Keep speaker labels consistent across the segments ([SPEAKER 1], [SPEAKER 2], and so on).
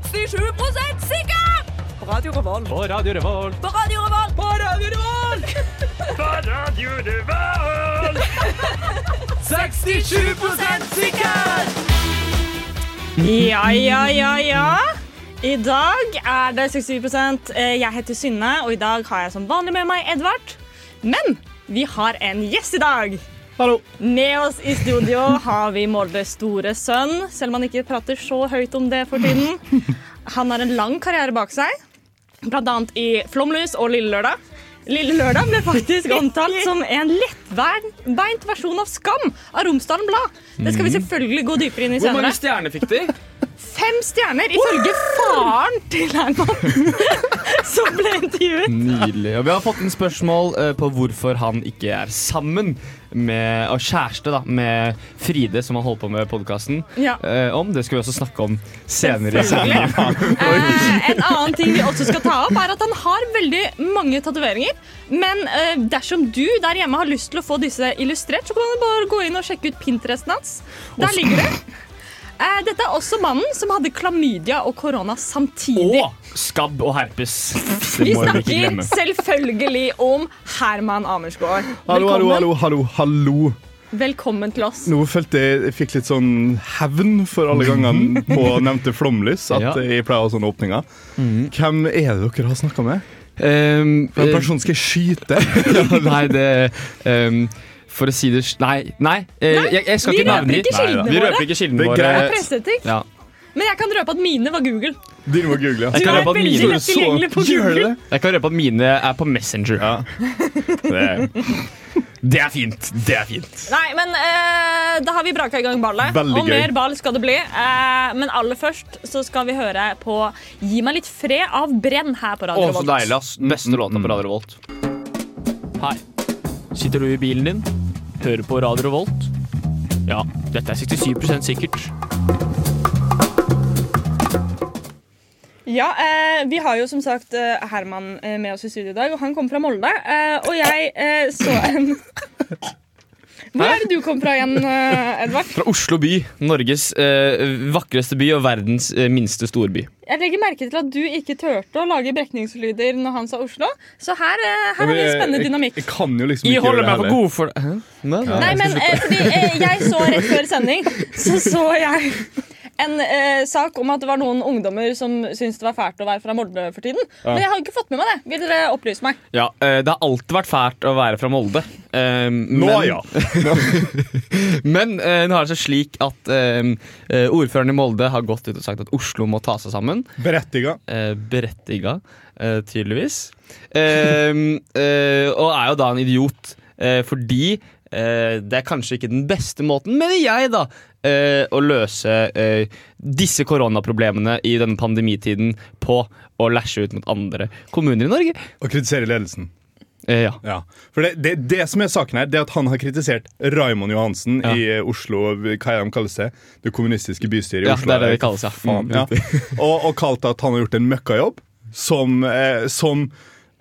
[SPEAKER 1] 67 sikker! På Radio Revolt.
[SPEAKER 2] På Radio Revolt.
[SPEAKER 1] På Radio Revolt. På Radio Revolt!
[SPEAKER 2] 67 sikker!
[SPEAKER 3] Ja, ja, ja, ja. I dag er det 67 Eh, Jeg heter Synne, og i dag har jeg som vanlig med meg Edvard. Men vi har en gjest i dag.
[SPEAKER 2] Hallo.
[SPEAKER 3] Med oss i studio har vi Moldes store sønn, selv om han ikke prater så høyt om det for tiden. Han har en lang karriere bak seg, bl.a. i Flomlys og Lille Lørdag. Lille Lørdag ble faktisk omtalt som en lettbeint versjon av Skam av Romsdalen Blad. Det skal vi selvfølgelig gå dypere inn i
[SPEAKER 2] Mhm. Hvor
[SPEAKER 3] senere.
[SPEAKER 2] mange stjerner fikk de?
[SPEAKER 3] Fem stjerner ifølge faren til Herman, som ble intervjuet.
[SPEAKER 2] Nydelig. Og vi har fått en spørsmål eh, på hvorfor han ikke er sammen med, og kjæreste da, med Fride, som han holdt på med podkasten.
[SPEAKER 3] Ja.
[SPEAKER 2] Eh, om. Det skal vi også snakke om senere. i sendingen.
[SPEAKER 3] Eh, en annen ting vi også skal ta opp, er at han har veldig mange tatoveringer. Men eh, dersom du der hjemme har lyst til å få disse illustrert, så kan du bare gå inn og sjekke ut Pinteresten hans. Der ligger det. Eh, dette er også mannen som hadde klamydia og korona samtidig.
[SPEAKER 2] Og skabb og herpes.
[SPEAKER 3] Vi
[SPEAKER 2] Det må vi ikke
[SPEAKER 3] snakker
[SPEAKER 2] glemme.
[SPEAKER 3] selvfølgelig om Herman Amersgaard.
[SPEAKER 4] Hallo, hallo,
[SPEAKER 3] Velkommen.
[SPEAKER 4] hallo, hallo, hallo.
[SPEAKER 3] Velkommen til
[SPEAKER 2] Eh,
[SPEAKER 3] oss.
[SPEAKER 4] Nå følte jeg jeg fikk litt sånn hevn for alle gangene på nevnte flomlys. At
[SPEAKER 2] Mhm. Ja.
[SPEAKER 4] jeg pleier å ha sånne åpninger. Hvem er det dere har snakka med?
[SPEAKER 2] Um,
[SPEAKER 4] En
[SPEAKER 2] eh,
[SPEAKER 4] person skal jeg skyte?
[SPEAKER 2] nei, det ehm, For å si det s- Nei, nei, eh, jeg, jeg skal
[SPEAKER 3] vi
[SPEAKER 2] ikke
[SPEAKER 3] røper
[SPEAKER 2] nevne
[SPEAKER 3] ikke kildene
[SPEAKER 2] Vi
[SPEAKER 3] våre.
[SPEAKER 2] røper ikke kildene
[SPEAKER 4] Det er
[SPEAKER 2] våre.
[SPEAKER 3] Det
[SPEAKER 4] greit.
[SPEAKER 3] er presseetikk.
[SPEAKER 2] Ja.
[SPEAKER 3] Men jeg kan røpe at mine var Google.
[SPEAKER 4] Dine må google.
[SPEAKER 2] Jeg
[SPEAKER 4] ja.
[SPEAKER 3] Du
[SPEAKER 2] kan
[SPEAKER 3] er
[SPEAKER 2] røpe at
[SPEAKER 3] veldig
[SPEAKER 2] mine
[SPEAKER 3] lett tilgjengelig på
[SPEAKER 4] Gjør
[SPEAKER 3] Google.
[SPEAKER 4] det?
[SPEAKER 2] Jeg kan røpe at mine er på Messenger.
[SPEAKER 4] Ja. Det
[SPEAKER 2] Det er fint. Det er fint.
[SPEAKER 3] Nei, men eh, da har vi braka i gang ballet.
[SPEAKER 4] Veldig
[SPEAKER 3] og
[SPEAKER 4] gøy.
[SPEAKER 3] mer ball skal det bli. Eh, men aller først så skal vi høre på Gi meg litt fred av Brenn her på Radio
[SPEAKER 2] Å, så
[SPEAKER 3] Revolt.
[SPEAKER 2] deilig, ass. Beste låta på Radio Revolt. Hei. mm. Sitter du i bilen din, hører på Radio Revolt? Ja, dette er 67 sikkert.
[SPEAKER 3] Ja, eh, Vi har jo som sagt eh, Herman eh, med oss i studio i dag, og han kommer fra Molde. eh, og jeg eh, så en Hvor er det du kom fra igjen, eh, Edvard?
[SPEAKER 2] Fra Oslo by. Norges eh, vakreste by og verdens eh, minste storby.
[SPEAKER 3] Jeg legger merke til at du ikke turte å lage brekningslyder når han sa Oslo. Så her, eh, her har
[SPEAKER 4] Men
[SPEAKER 3] vi en
[SPEAKER 4] jeg-
[SPEAKER 3] spennende dynamikk.
[SPEAKER 4] Jeg, jeg kan jo liksom ikke gjøre det heller.
[SPEAKER 2] god for det.
[SPEAKER 3] Nei, men eh, fordi eh, jeg så rett før sending, så så jeg en eh, sak om at det var noen ungdommer som syntes det var fælt å være fra Molde for tiden. Men jeg har jo ikke fått med meg det. Vil dere opplyse meg?
[SPEAKER 2] Ja, eh, Det har alltid vært fælt å være fra Molde. Eh,
[SPEAKER 4] Nå,
[SPEAKER 2] men-
[SPEAKER 4] ja.
[SPEAKER 2] Men eh, nå er det så slik at eh, eh, ordføreren i Molde har gått ut og sagt at Oslo må ta seg sammen.
[SPEAKER 4] Berettiga.
[SPEAKER 2] Eh, berettiga, eh, tydeligvis. Eh, eh, og er jo da en idiot, eh, fordi eh, det er kanskje ikke den beste måten, mener jeg, da. eh, å løse eh, disse koronaproblemene i denne pandemitiden på å læsje ut mot andre kommuner i Norge.
[SPEAKER 4] Og kritisere ledelsen.
[SPEAKER 2] Eh, ja.
[SPEAKER 4] Ja. For det, det, det som er saken her, det er at han har kritisert Raimond Johansen
[SPEAKER 2] Ja.
[SPEAKER 4] i eh, Oslo Hva er det de kaller seg? Det kommunistiske bystyret i
[SPEAKER 2] ja,
[SPEAKER 4] Oslo.
[SPEAKER 2] det er det
[SPEAKER 4] eller-
[SPEAKER 2] det kalles, ja.
[SPEAKER 4] faen.
[SPEAKER 2] Mm.
[SPEAKER 4] Ja. Og, og kalt at han har gjort en møkkajobb som, eh, som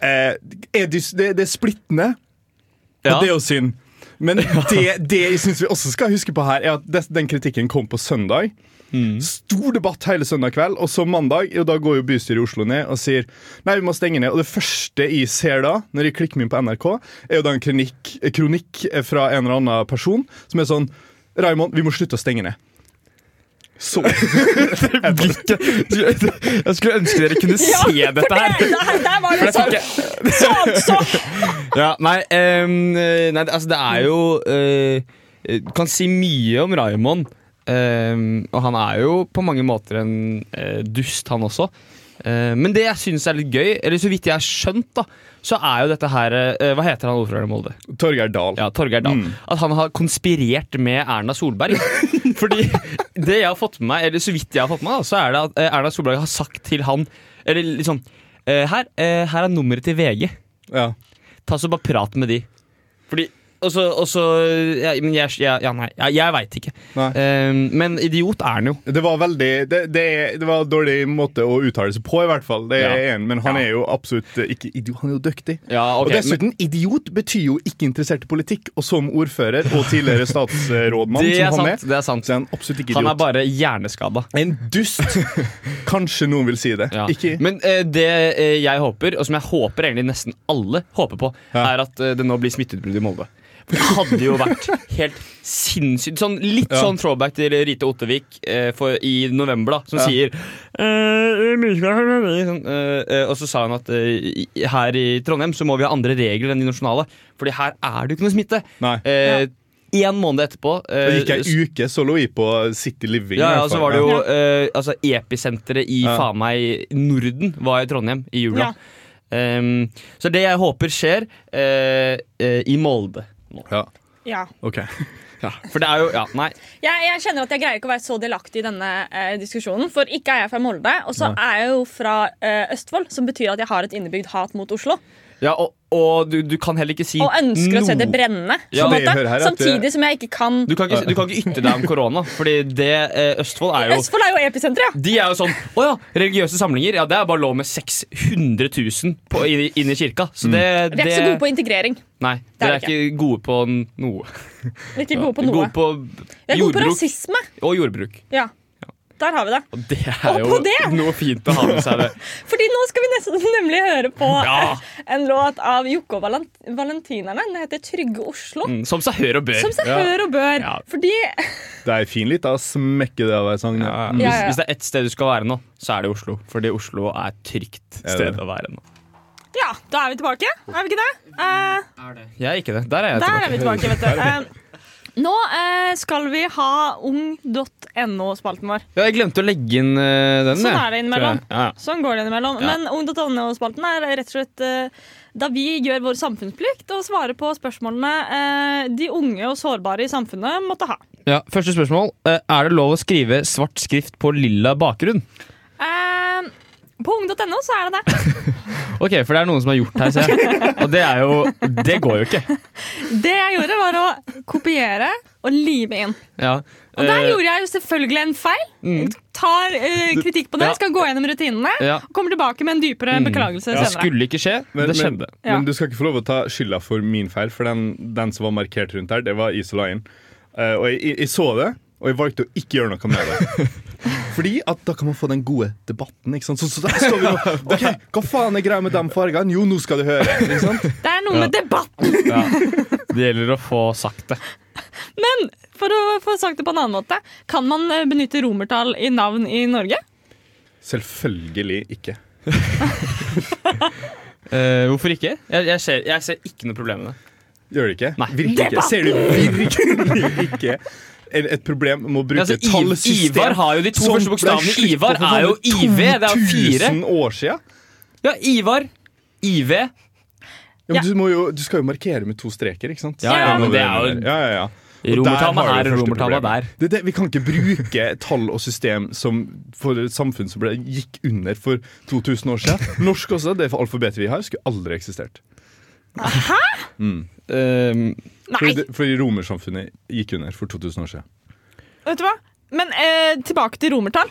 [SPEAKER 4] eh, er dys, det, det er splittende,
[SPEAKER 2] Ja.
[SPEAKER 4] og det er jo synd. Men det, det jeg syns vi også skal huske på her, er at des- den kritikken kom på søndag.
[SPEAKER 2] Mm.
[SPEAKER 4] Stor debatt hele søndag kveld, og så mandag og da går jo bystyret i Oslo ned og sier nei, vi må stenge ned. Og det første jeg ser da, når jeg klikker meg inn på NRK, er jo da en kronikk, eh, kronikk fra en eller annen person som er sånn Raymond, vi må slutte å stenge ned. Så
[SPEAKER 2] blikket Jeg skulle ønske dere kunne se
[SPEAKER 3] for
[SPEAKER 2] dette her.
[SPEAKER 3] det- Der, der var det sånn. sånn så.
[SPEAKER 2] Ja, nei, ehm, eh, nei, altså det er jo eh, eh, Kan si mye om Raymond. ehm, og han er jo på mange måter en eh, dust, han også. Eh, men det jeg syns er litt gøy, eller så vidt jeg har skjønt, da så er jo dette her eh, Hva heter han ordføreren i Molde?
[SPEAKER 4] Torgeir Dahl.
[SPEAKER 2] Ja, Torgeir Dahl. At han har konspirert med Erna Solberg. Fordi det jeg har fått med meg, eller så vidt jeg har fått med meg, da, så er det at eh, Erna Solberg har sagt til han Eller liksom eh, her, eh, her er nummeret til VG.
[SPEAKER 4] Ja.
[SPEAKER 2] Ta så bare prat med de. Fordi og så, og så ja, Men jeg, ja, ja, nei, ja, jeg veit ikke.
[SPEAKER 4] Nei.
[SPEAKER 2] Eh, men idiot er han jo.
[SPEAKER 4] Det var veldig Det, det, er- det var en dårlig måte å uttale seg på, i hvert fall. Det er jeg
[SPEAKER 2] Ja.
[SPEAKER 4] enig, i, men han er jo absolutt ikke idiot. Han er jo dyktig.
[SPEAKER 2] Ja, ok,
[SPEAKER 4] og dessuten, idiot betyr jo ikke interessert i politikk. Og som ordfører og tidligere statsrådmann
[SPEAKER 2] Det er
[SPEAKER 4] som han
[SPEAKER 2] sant. det er sant
[SPEAKER 4] så er han absolutt ikke idiot.
[SPEAKER 2] Han er bare hjerneskada.
[SPEAKER 4] en dust. Kanskje noen vil si det.
[SPEAKER 2] Ja.
[SPEAKER 4] Ikke
[SPEAKER 2] Men eh, det eh, jeg håper, og som jeg håper egentlig nesten alle håper på,
[SPEAKER 4] Ja.
[SPEAKER 2] er at eh, det nå blir smitteutbrudd i Molde. For det hadde jo vært helt sinnssykt. Sånn, litt
[SPEAKER 4] Ja.
[SPEAKER 2] sånn throwback til Rite Ottervik eh, for, i november, da, som
[SPEAKER 4] Ja.
[SPEAKER 2] sier eh, mye- sånn, eh, eh, Og så sa hun at eh, i- her i Trondheim så må vi ha andre regler enn de nasjonale, Fordi her er det jo ikke noe smitte.
[SPEAKER 4] Nei.
[SPEAKER 2] Eh, Én måned etterpå eh,
[SPEAKER 4] Det gikk ei uke, så lå vi på City Living.
[SPEAKER 2] ja,
[SPEAKER 4] i
[SPEAKER 2] ja, så
[SPEAKER 4] hvert fall.
[SPEAKER 2] var det jo
[SPEAKER 4] Ja.
[SPEAKER 2] eh, altså, Episenteret i
[SPEAKER 4] Ja.
[SPEAKER 2] faen meg Norden var i Trondheim i jula.
[SPEAKER 3] Ja.
[SPEAKER 2] Ehm, så det jeg håper skjer eh, eh, i Molde nå.
[SPEAKER 4] Ja,
[SPEAKER 3] Ja.
[SPEAKER 4] ok
[SPEAKER 2] For det er jo Ja, nei.
[SPEAKER 3] Jeg, jeg kjenner at jeg greier ikke å være så delaktig i denne eh, diskusjonen. For ikke er jeg fra Molde, og så er jeg jo fra eh, Østfold, som betyr at jeg har et innebygd hat mot Oslo.
[SPEAKER 2] Ja, og, og du, du kan heller ikke si
[SPEAKER 3] Og ønsker å se det
[SPEAKER 2] noe.
[SPEAKER 3] brenne.
[SPEAKER 2] Ja,
[SPEAKER 3] på en
[SPEAKER 4] det jeg
[SPEAKER 3] måte.
[SPEAKER 4] hører her er at det-
[SPEAKER 3] Samtidig som jeg ikke kan
[SPEAKER 2] Du kan ikke, du kan ikke ytre deg om korona, Fordi det eh, Østfold er jo
[SPEAKER 3] Østfold er jo episenteret, ja!
[SPEAKER 2] de er jo sånn Å ja, religiøse samlinger. Ja, det er bare lov med 600 000 på, inn, i- inn i kirka. Så
[SPEAKER 4] Mm.
[SPEAKER 2] det,
[SPEAKER 3] Vi er ikke så gode på integrering.
[SPEAKER 2] Nei,
[SPEAKER 3] Det
[SPEAKER 2] dere
[SPEAKER 3] er
[SPEAKER 2] er ikke gode på n- noe.
[SPEAKER 3] Vi er ikke gode på noe.
[SPEAKER 2] Gode på
[SPEAKER 3] Vi er gode på
[SPEAKER 2] jordbruk
[SPEAKER 3] rasisme.
[SPEAKER 2] og jordbruk.
[SPEAKER 3] Ja. Der har vi det.
[SPEAKER 2] Og det er
[SPEAKER 3] Og på
[SPEAKER 2] jo
[SPEAKER 3] det!
[SPEAKER 2] noe fint å ha med seg. det
[SPEAKER 3] Fordi nå skal vi nesten nemlig høre på
[SPEAKER 2] Ja.
[SPEAKER 3] en låt av Jokke og Valent Valentinerne. Den heter 'Trygge Oslo'.
[SPEAKER 2] Mm, Som seg hør og bør.
[SPEAKER 3] Som seg hør og bør.
[SPEAKER 2] Ja.
[SPEAKER 3] Fordi
[SPEAKER 4] Det er fin lita smekke det av ei sang.
[SPEAKER 2] Ja,
[SPEAKER 4] Ja.
[SPEAKER 2] Hvis,
[SPEAKER 3] Ja, ja.
[SPEAKER 2] hvis det er ett sted du skal være nå, så er det Oslo. Fordi Oslo er et trygt
[SPEAKER 4] det?
[SPEAKER 2] sted å være nå.
[SPEAKER 3] Ja, da er vi tilbake. Er vi ikke det? Eh,
[SPEAKER 2] Jeg er ikke det. Der er jeg
[SPEAKER 3] der er
[SPEAKER 2] tilbake.
[SPEAKER 3] vi tilbake, vet du. Eh, nå eh, skal vi ha ung.no-spalten vår.
[SPEAKER 2] Ja, jeg glemte å legge inn eh, den.
[SPEAKER 3] Sånn er det
[SPEAKER 2] jeg, tror jeg.
[SPEAKER 3] innimellom.
[SPEAKER 2] Ja.
[SPEAKER 3] Sånn går det innimellom.
[SPEAKER 2] Ja.
[SPEAKER 3] Men ung.no-spalten er rett og slett eh, da vi gjør vår samfunnsplikt og svarer på spørsmålene eh, de unge og sårbare i samfunnet måtte ha.
[SPEAKER 2] Ja, første spørsmål. Eh, Er det lov å skrive svart skrift på lilla bakgrunn?
[SPEAKER 3] Eh, på ung.no så er det det.
[SPEAKER 2] Ok, for det er noen som har gjort her, ser jeg. Og det er jo Det går jo ikke.
[SPEAKER 3] Det jeg gjorde, var å kopiere og lime inn.
[SPEAKER 2] Ja.
[SPEAKER 3] Og der
[SPEAKER 2] eh, Mm.
[SPEAKER 3] gjorde jeg jo selvfølgelig en feil. Tar eh, kritikk på det,
[SPEAKER 2] Ja. Eh. Mm.
[SPEAKER 3] skal gå gjennom rutinene.
[SPEAKER 2] Ja.
[SPEAKER 3] og Kommer tilbake med en dypere beklagelse
[SPEAKER 2] det
[SPEAKER 3] senere.
[SPEAKER 2] skulle ikke skje.
[SPEAKER 4] Men,
[SPEAKER 2] det skjedde.
[SPEAKER 4] Men, men du skal ikke få lov å ta skylda for min feil, for den, den som var markert rundt her, det var Isola Inn. Eh, og jeg, jeg, jeg så det, og jeg valgte å ikke gjøre noe med det. Fordi at da kan man få den gode debatten. ikke sant? Så, så der står vi nå. Ok, Hva faen er greia med de fargene? Jo, nå skal du høre. ikke sant?
[SPEAKER 3] Det er noe med debatten!
[SPEAKER 2] Det gjelder å få sagt det.
[SPEAKER 3] Men for å få sagt det på en annen måte, kan man eh, benytte romertall i navn i Norge?
[SPEAKER 4] Selvfølgelig ikke.
[SPEAKER 2] Eh, hvorfor ikke? Jeg, jeg, ser, jeg ser ikke noe problem med det.
[SPEAKER 4] Gjør det ikke?
[SPEAKER 2] Nei.
[SPEAKER 4] Virkelig ikke. Ser du virkelig ikke et, et problem med å bruke
[SPEAKER 2] Altså, I-
[SPEAKER 4] tallsystem?
[SPEAKER 2] Ivar har jo de to
[SPEAKER 4] som
[SPEAKER 2] første
[SPEAKER 4] ble
[SPEAKER 2] bokstavene.
[SPEAKER 4] slutt på
[SPEAKER 2] Ivar
[SPEAKER 4] for
[SPEAKER 2] er jo
[SPEAKER 4] sånn
[SPEAKER 2] IV. Det er jo fire.
[SPEAKER 4] 2000 år siden.
[SPEAKER 2] Ja, Ivar. IV.
[SPEAKER 4] Ja, men
[SPEAKER 3] Ja.
[SPEAKER 4] Du, må jo, du skal jo markere med to streker, ikke sant?
[SPEAKER 2] Ja,
[SPEAKER 3] ja, men
[SPEAKER 2] det er jo-
[SPEAKER 4] ja, ja, ja. Og
[SPEAKER 2] Romertallet
[SPEAKER 4] der har
[SPEAKER 2] her,
[SPEAKER 4] du det første
[SPEAKER 2] romertallet
[SPEAKER 4] problemet.
[SPEAKER 2] der.
[SPEAKER 4] Det, er det, vi kan ikke bruke tall og system som for et samfunn som ble, gikk under for 2000 år siden. Norsk også, det alfabetet vi har, skulle aldri eksistert.
[SPEAKER 3] Nei!
[SPEAKER 4] Fordi, det- fordi romersamfunnet gikk under for 2000 år siden.
[SPEAKER 3] Vet du hva? Men eh, tilbake til romertall.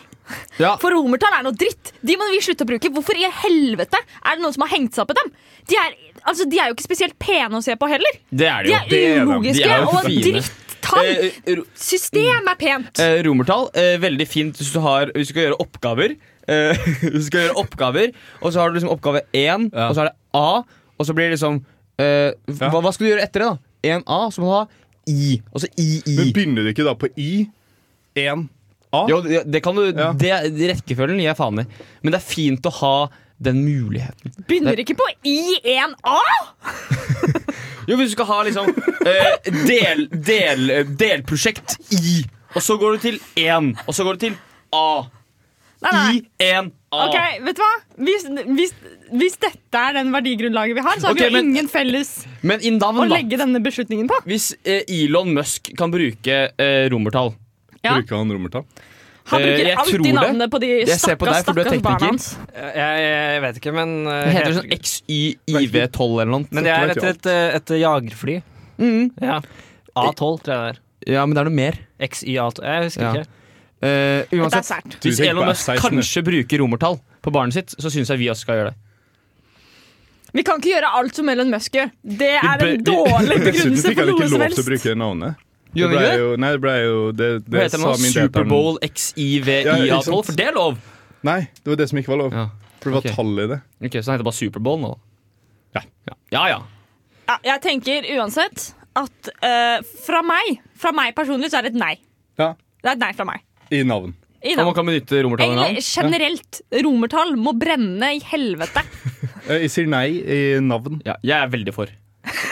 [SPEAKER 2] ja.
[SPEAKER 3] For romertall er noe dritt. De må vi slutte å bruke. Hvorfor i helvete er det noen som har hengt seg opp i dem? De er, altså, de er jo ikke spesielt pene å se på heller.
[SPEAKER 2] Det er
[SPEAKER 3] De
[SPEAKER 2] det jo.
[SPEAKER 3] er
[SPEAKER 4] det er de.
[SPEAKER 2] De
[SPEAKER 3] ulogiske
[SPEAKER 2] er jo
[SPEAKER 3] og
[SPEAKER 2] fine.
[SPEAKER 3] drittall.
[SPEAKER 2] Eh, ro-
[SPEAKER 3] System er pent.
[SPEAKER 2] eh, romertall, eh, veldig fint hvis du, har, hvis du skal gjøre oppgaver. Eh, hvis du skal gjøre oppgaver, og så har du liksom oppgave 1,
[SPEAKER 4] Ja.
[SPEAKER 2] og så er det A, og så blir det liksom eh, hva, hva skal du gjøre etter det, da? 1A, så må du ha I. Og så II.
[SPEAKER 4] Men begynner du ikke da på I? 1 A?
[SPEAKER 2] Jo, det det kan du,
[SPEAKER 4] Ja.
[SPEAKER 2] det, rekkefølgen gir jeg faen i. Men det er fint å ha den muligheten.
[SPEAKER 3] Begynner ikke på I1A.
[SPEAKER 2] Jo, hvis du skal ha liksom eh, del, del, delprosjekt I, og så går du til 1, og så går du til A.
[SPEAKER 3] Nei, Ah, nei.
[SPEAKER 2] I, 1, A.
[SPEAKER 3] Ok, vet du hva? Hvis, hvis, hvis dette er den verdigrunnlaget vi har, så har
[SPEAKER 2] Ok,
[SPEAKER 3] vi jo
[SPEAKER 2] men-
[SPEAKER 3] ingen felles
[SPEAKER 2] Men i
[SPEAKER 3] å
[SPEAKER 2] navn, da.
[SPEAKER 3] legge denne beslutningen på.
[SPEAKER 2] Hvis eh, Elon Musk kan bruke eh, romertall
[SPEAKER 3] Ja.
[SPEAKER 4] Bruker han romertall?
[SPEAKER 3] Han
[SPEAKER 2] Eh,
[SPEAKER 3] bruker
[SPEAKER 2] jeg tror
[SPEAKER 3] alltid
[SPEAKER 2] det.
[SPEAKER 3] navnet på de
[SPEAKER 2] Jeg ser på
[SPEAKER 3] stakkars,
[SPEAKER 2] deg, for du er
[SPEAKER 3] stakkars
[SPEAKER 2] tekniker.
[SPEAKER 3] barna hans.
[SPEAKER 5] Jeg, jeg vet ikke, men eh,
[SPEAKER 2] Det heter
[SPEAKER 5] heter-
[SPEAKER 2] sånn XYIV12 eller noe.
[SPEAKER 5] Men det er
[SPEAKER 4] vet
[SPEAKER 5] etter
[SPEAKER 4] jeg
[SPEAKER 5] et, eh, et jagerfly. Ja. A12, tror jeg det er.
[SPEAKER 2] Ja, men det er noe mer.
[SPEAKER 5] XY-A12. Jeg husker
[SPEAKER 2] Ja.
[SPEAKER 5] ikke.
[SPEAKER 2] Eh,
[SPEAKER 3] Dette er
[SPEAKER 2] uansett,
[SPEAKER 3] sært.
[SPEAKER 4] Du
[SPEAKER 2] hvis
[SPEAKER 4] tenker
[SPEAKER 2] Elon
[SPEAKER 4] på
[SPEAKER 2] Musk
[SPEAKER 4] F16.
[SPEAKER 2] kanskje bruker romertall på barnet sitt, så syns jeg vi også skal gjøre det.
[SPEAKER 3] Vi kan ikke gjøre alt som Elon Musk gjør. Det er en
[SPEAKER 2] bør-
[SPEAKER 3] dårlig
[SPEAKER 4] Dessuten
[SPEAKER 3] begrunnelse
[SPEAKER 4] fikk han
[SPEAKER 3] for
[SPEAKER 4] ikke
[SPEAKER 3] noe som
[SPEAKER 4] lov til å
[SPEAKER 3] helst.
[SPEAKER 4] bruke navnet. Det
[SPEAKER 2] Gjør vi
[SPEAKER 4] ble
[SPEAKER 2] ikke det?
[SPEAKER 4] jo, nei, det ble jo Det,
[SPEAKER 2] Hva
[SPEAKER 4] det
[SPEAKER 2] heter den?
[SPEAKER 4] sa
[SPEAKER 2] da?
[SPEAKER 4] min
[SPEAKER 2] Superbowl
[SPEAKER 4] Ja, ikke
[SPEAKER 2] XIVIA12?
[SPEAKER 4] sant.
[SPEAKER 2] For det er lov!
[SPEAKER 4] Nei, det var det som ikke var lov.
[SPEAKER 2] Ja.
[SPEAKER 4] For det var
[SPEAKER 2] Ok.
[SPEAKER 4] tall i det.
[SPEAKER 2] Ok, Så den heter bare Superbowl nå?
[SPEAKER 4] Ja.
[SPEAKER 2] Ja ja. ja.
[SPEAKER 3] Ja, jeg tenker uansett at eh, fra meg Fra meg personlig så er det et nei.
[SPEAKER 4] Ja,
[SPEAKER 3] Det er et nei fra meg.
[SPEAKER 4] I navn.
[SPEAKER 3] I
[SPEAKER 2] Og
[SPEAKER 3] navn.
[SPEAKER 2] man kan benytte romertallet i
[SPEAKER 3] Egentlig
[SPEAKER 2] navn?
[SPEAKER 3] generelt. Romertall må brenne i helvete.
[SPEAKER 4] Eh, Jeg sier nei i navn.
[SPEAKER 2] Ja, jeg er veldig for.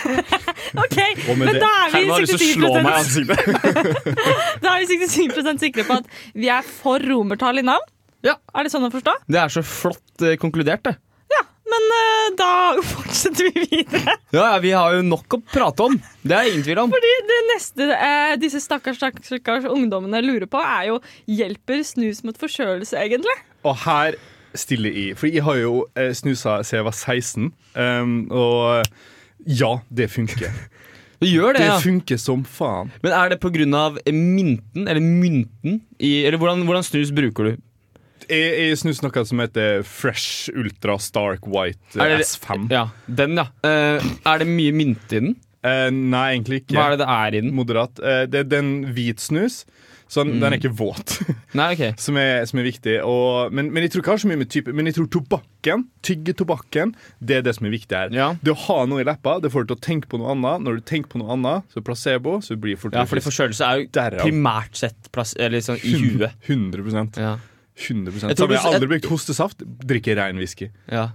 [SPEAKER 3] Ok,
[SPEAKER 4] Og med
[SPEAKER 3] Men
[SPEAKER 4] det-
[SPEAKER 3] da er vi
[SPEAKER 2] Herman har lyst til å slå meg altså? i
[SPEAKER 3] 67%,
[SPEAKER 2] ansiktet.
[SPEAKER 3] da er vi 67 sikre på at vi er for romertall i navn.
[SPEAKER 2] Ja.
[SPEAKER 3] Er det sånn å forstå?
[SPEAKER 2] Det er så flott eh, konkludert, det.
[SPEAKER 3] Ja, men eh, da fortsetter vi videre.
[SPEAKER 2] Ja, ja, Vi har jo nok å prate om. Det er ingen tvil om.
[SPEAKER 3] Fordi det neste eh, disse stakkars, stakkars, stakkars ungdommene lurer på, er jo hjelper snus mot forkjølelse, egentlig?
[SPEAKER 4] Og her stiller jeg. For jeg har jo eh, snusa siden jeg var 16. ehm, og eh, ja, det funker.
[SPEAKER 2] Det gjør det,
[SPEAKER 4] Det
[SPEAKER 2] ja.
[SPEAKER 4] funker som faen.
[SPEAKER 2] Men er det pga. mynten, eller mynten i Eller hvordan, hvordan snus bruker du?
[SPEAKER 4] Jeg, jeg snus noe som heter Fresh Ultra Stark White eh,
[SPEAKER 2] Er det-
[SPEAKER 4] S5.
[SPEAKER 2] Ja, Den, ja. Eh, er det mye mynte i den?
[SPEAKER 4] Eh, nei, egentlig ikke.
[SPEAKER 2] Hva er det det er i den?
[SPEAKER 4] Moderat. Eh, det er den hvit snus. Så den,
[SPEAKER 2] Mm.
[SPEAKER 4] den er ikke våt.
[SPEAKER 2] Nei, ok
[SPEAKER 4] som er, som er viktig. Og, men, men jeg tror ikke jeg har så mye med type Men jeg tror tobakken, tygge tobakken, det er det som er viktig her.
[SPEAKER 2] Ja.
[SPEAKER 4] Det å ha noe i leppa, det får deg til å tenke på noe annet. Når du tenker på noe annet, så placebo, så blir det fort
[SPEAKER 2] Ja, fordi Forkjølelse er jo
[SPEAKER 4] Derav.
[SPEAKER 2] primært sett plass, eller liksom, i huet.
[SPEAKER 4] 100 100
[SPEAKER 2] Ja, Jeg tror
[SPEAKER 4] Så jeg har
[SPEAKER 2] hvis-
[SPEAKER 4] aldri brukt hostesaft. Drikker rein whisky.
[SPEAKER 2] ja.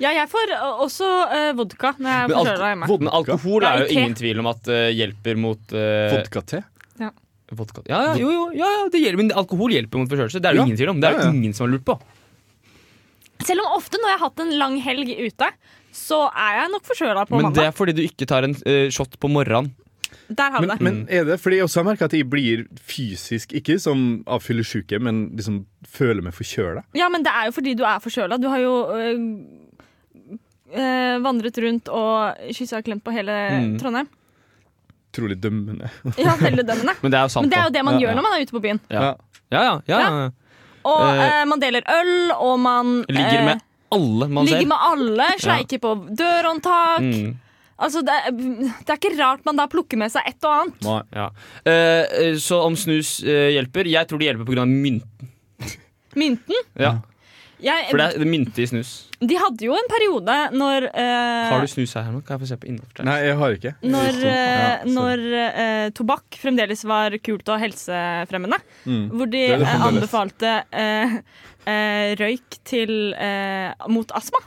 [SPEAKER 3] Ja, jeg får eh, også eh, vodka når jeg
[SPEAKER 2] Men alt-
[SPEAKER 3] forkjøler hjemme.
[SPEAKER 2] Men alkohol
[SPEAKER 3] Ja,
[SPEAKER 2] er
[SPEAKER 3] i
[SPEAKER 2] jo
[SPEAKER 3] te.
[SPEAKER 2] ingen tvil om at eh, hjelper mot eh,
[SPEAKER 4] Vodka-te.
[SPEAKER 2] vodka. Ja, ja, jo, jo, ja, ja, det hjelper, men alkohol hjelper mot forkjølelse. Det er det
[SPEAKER 4] Ja.
[SPEAKER 2] ingen tvil om. Det er
[SPEAKER 4] Ja,
[SPEAKER 2] jo
[SPEAKER 4] ja.
[SPEAKER 2] ingen som har lurt på.
[SPEAKER 3] Selv om ofte når jeg har hatt en lang helg ute, så er jeg nok forkjøla på
[SPEAKER 2] Men det
[SPEAKER 3] mandag.
[SPEAKER 2] er fordi du ikke tar en eh, shot på morgenen.
[SPEAKER 3] Der har vi
[SPEAKER 4] Men,
[SPEAKER 3] det.
[SPEAKER 4] men er det? Fordi jeg også har merka at jeg blir fysisk, ikke som av fyllesyke, men liksom føler meg forkjøla.
[SPEAKER 3] Ja, men det er jo fordi du er forkjøla. Du har jo øh, øh, vandret rundt og kyssa og klemt på hele
[SPEAKER 2] Mm.
[SPEAKER 3] Trondheim.
[SPEAKER 4] Utrolig dømmende.
[SPEAKER 3] Ja, hele dømmene.
[SPEAKER 2] Men det er jo sant.
[SPEAKER 3] Men det er
[SPEAKER 2] da.
[SPEAKER 3] jo det man
[SPEAKER 2] ja,
[SPEAKER 3] gjør når man er ute på byen.
[SPEAKER 2] Ja. Ja, ja, ja, ja, ja.
[SPEAKER 3] Og
[SPEAKER 2] Eh.
[SPEAKER 3] øh, man deler øl, og man
[SPEAKER 2] Ligger
[SPEAKER 3] øh,
[SPEAKER 2] med alle man
[SPEAKER 3] ligger
[SPEAKER 2] ser.
[SPEAKER 3] med alle, sleiker på dørhåndtak.
[SPEAKER 2] Mm,
[SPEAKER 3] Altså, det, er- det er ikke rart man da plukker med seg et og annet.
[SPEAKER 4] Nei.
[SPEAKER 2] ja. Eh, eh, så om snus eh, hjelper? Jeg tror det hjelper pga. mynt.
[SPEAKER 3] Mynten.
[SPEAKER 2] Ja,
[SPEAKER 3] Jeg,
[SPEAKER 2] for det er det er mynte i snus.
[SPEAKER 3] De hadde jo en periode når øh,
[SPEAKER 2] Har du snus her nå? Kan jeg få se på innholdet?
[SPEAKER 4] Nei, jeg har ikke.
[SPEAKER 3] Når, eh,
[SPEAKER 4] Ja, så-
[SPEAKER 3] når eh, tobakk fremdeles var kult og helsefremmende, hvor de
[SPEAKER 4] Det er det
[SPEAKER 3] eh,
[SPEAKER 4] fremdeles.
[SPEAKER 3] anbefalte eh, eh, røyk til, eh, mot astma.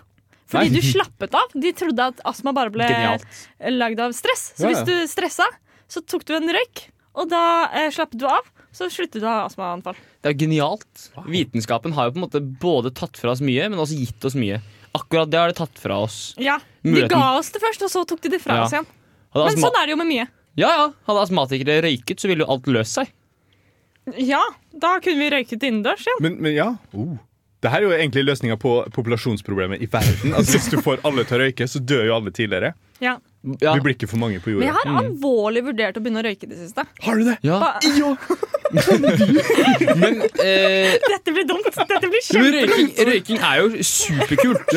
[SPEAKER 3] Fordi du slappet av. De trodde at astma bare ble
[SPEAKER 2] Genialt.
[SPEAKER 3] eh, lagd av stress. Så
[SPEAKER 4] Ja,
[SPEAKER 3] hvis
[SPEAKER 4] ja.
[SPEAKER 3] du stressa, så tok du en røyk, og da eh, slappet du av. Så sluttet du å ha astmaanfall.
[SPEAKER 2] Det er jo genialt. Vitenskapen har jo på en måte både tatt fra oss mye, men også gitt oss mye. Akkurat det har det tatt fra oss.
[SPEAKER 3] Ja, De
[SPEAKER 2] Muligheten.
[SPEAKER 3] ga oss det først, og så tok de det fra
[SPEAKER 2] Ja.
[SPEAKER 3] oss igjen.
[SPEAKER 2] Hadde,
[SPEAKER 3] Men
[SPEAKER 2] astma
[SPEAKER 3] sånn er det jo med mye.
[SPEAKER 2] ja, ja. hadde astmatikere røyket, så ville jo alt løst seg.
[SPEAKER 3] Ja, da kunne vi røyket innendørs igjen.
[SPEAKER 4] Men, men ja. Oh. Det her er jo egentlig løsninga på populasjonsproblemet i verden. Altså Hvis du får alle til å røyke, så dør jo alle tidligere.
[SPEAKER 3] Ja.
[SPEAKER 2] Ja.
[SPEAKER 4] Vi blir ikke for mange på
[SPEAKER 3] Men
[SPEAKER 4] jorda.
[SPEAKER 3] jeg har
[SPEAKER 2] Mm.
[SPEAKER 3] alvorlig vurdert å begynne å røyke i det siste.
[SPEAKER 4] Har du det?
[SPEAKER 2] Ja.
[SPEAKER 3] Ba-
[SPEAKER 2] Men eh,
[SPEAKER 3] Dette blir dumt. Dette blir
[SPEAKER 2] Jo, men
[SPEAKER 3] kjempe...
[SPEAKER 2] røyking, røyking er jo superkult.